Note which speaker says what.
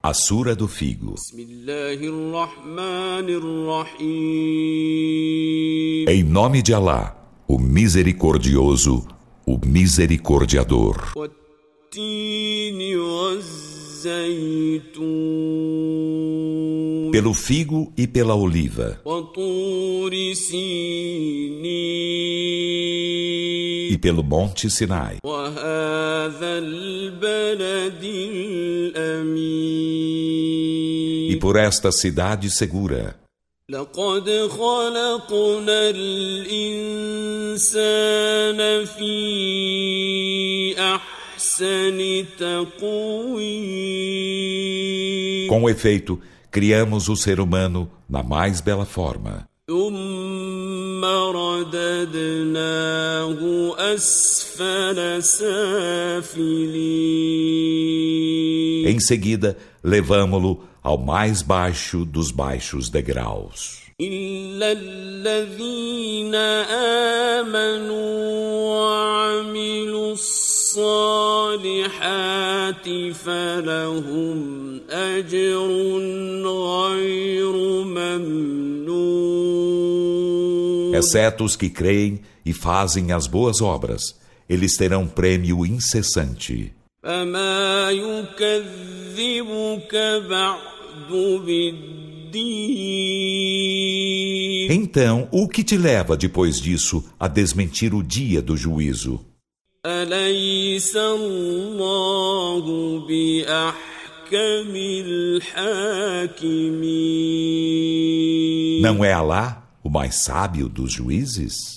Speaker 1: A Sura do Figo,
Speaker 2: بسم الله الرحمن الرحيم
Speaker 1: em nome de Alá, o misericordioso, o misericordiador,
Speaker 2: والتين والزيتون
Speaker 1: pelo figo e pela oliva,
Speaker 2: وطور
Speaker 1: e
Speaker 2: سينين
Speaker 1: pelo monte Sinai,
Speaker 2: وهذا البلد الأمين
Speaker 1: e por esta cidade segura.
Speaker 2: لقد خلقنا الإنسان في أحسن تقويم
Speaker 1: Com efeito, criamos o ser humano na mais bela forma,
Speaker 2: ثم رددناه أسفل سافلين
Speaker 1: em seguida, levámo-lo ao mais baixo dos baixos degraus.
Speaker 2: إلا الذين آمنوا وعملوا الصالحات فلهم أجر غير ممنون
Speaker 1: Exceto os que creem e fazem as boas obras, eles terão prêmio incessante.
Speaker 2: فما يكذبك بعد بالدين
Speaker 1: Então, o que te leva depois disso a desmentir o dia do juízo?
Speaker 2: أليس الله بأحكم الحاكمين
Speaker 1: نعم. Não é Alá o mais sábio dos juízes?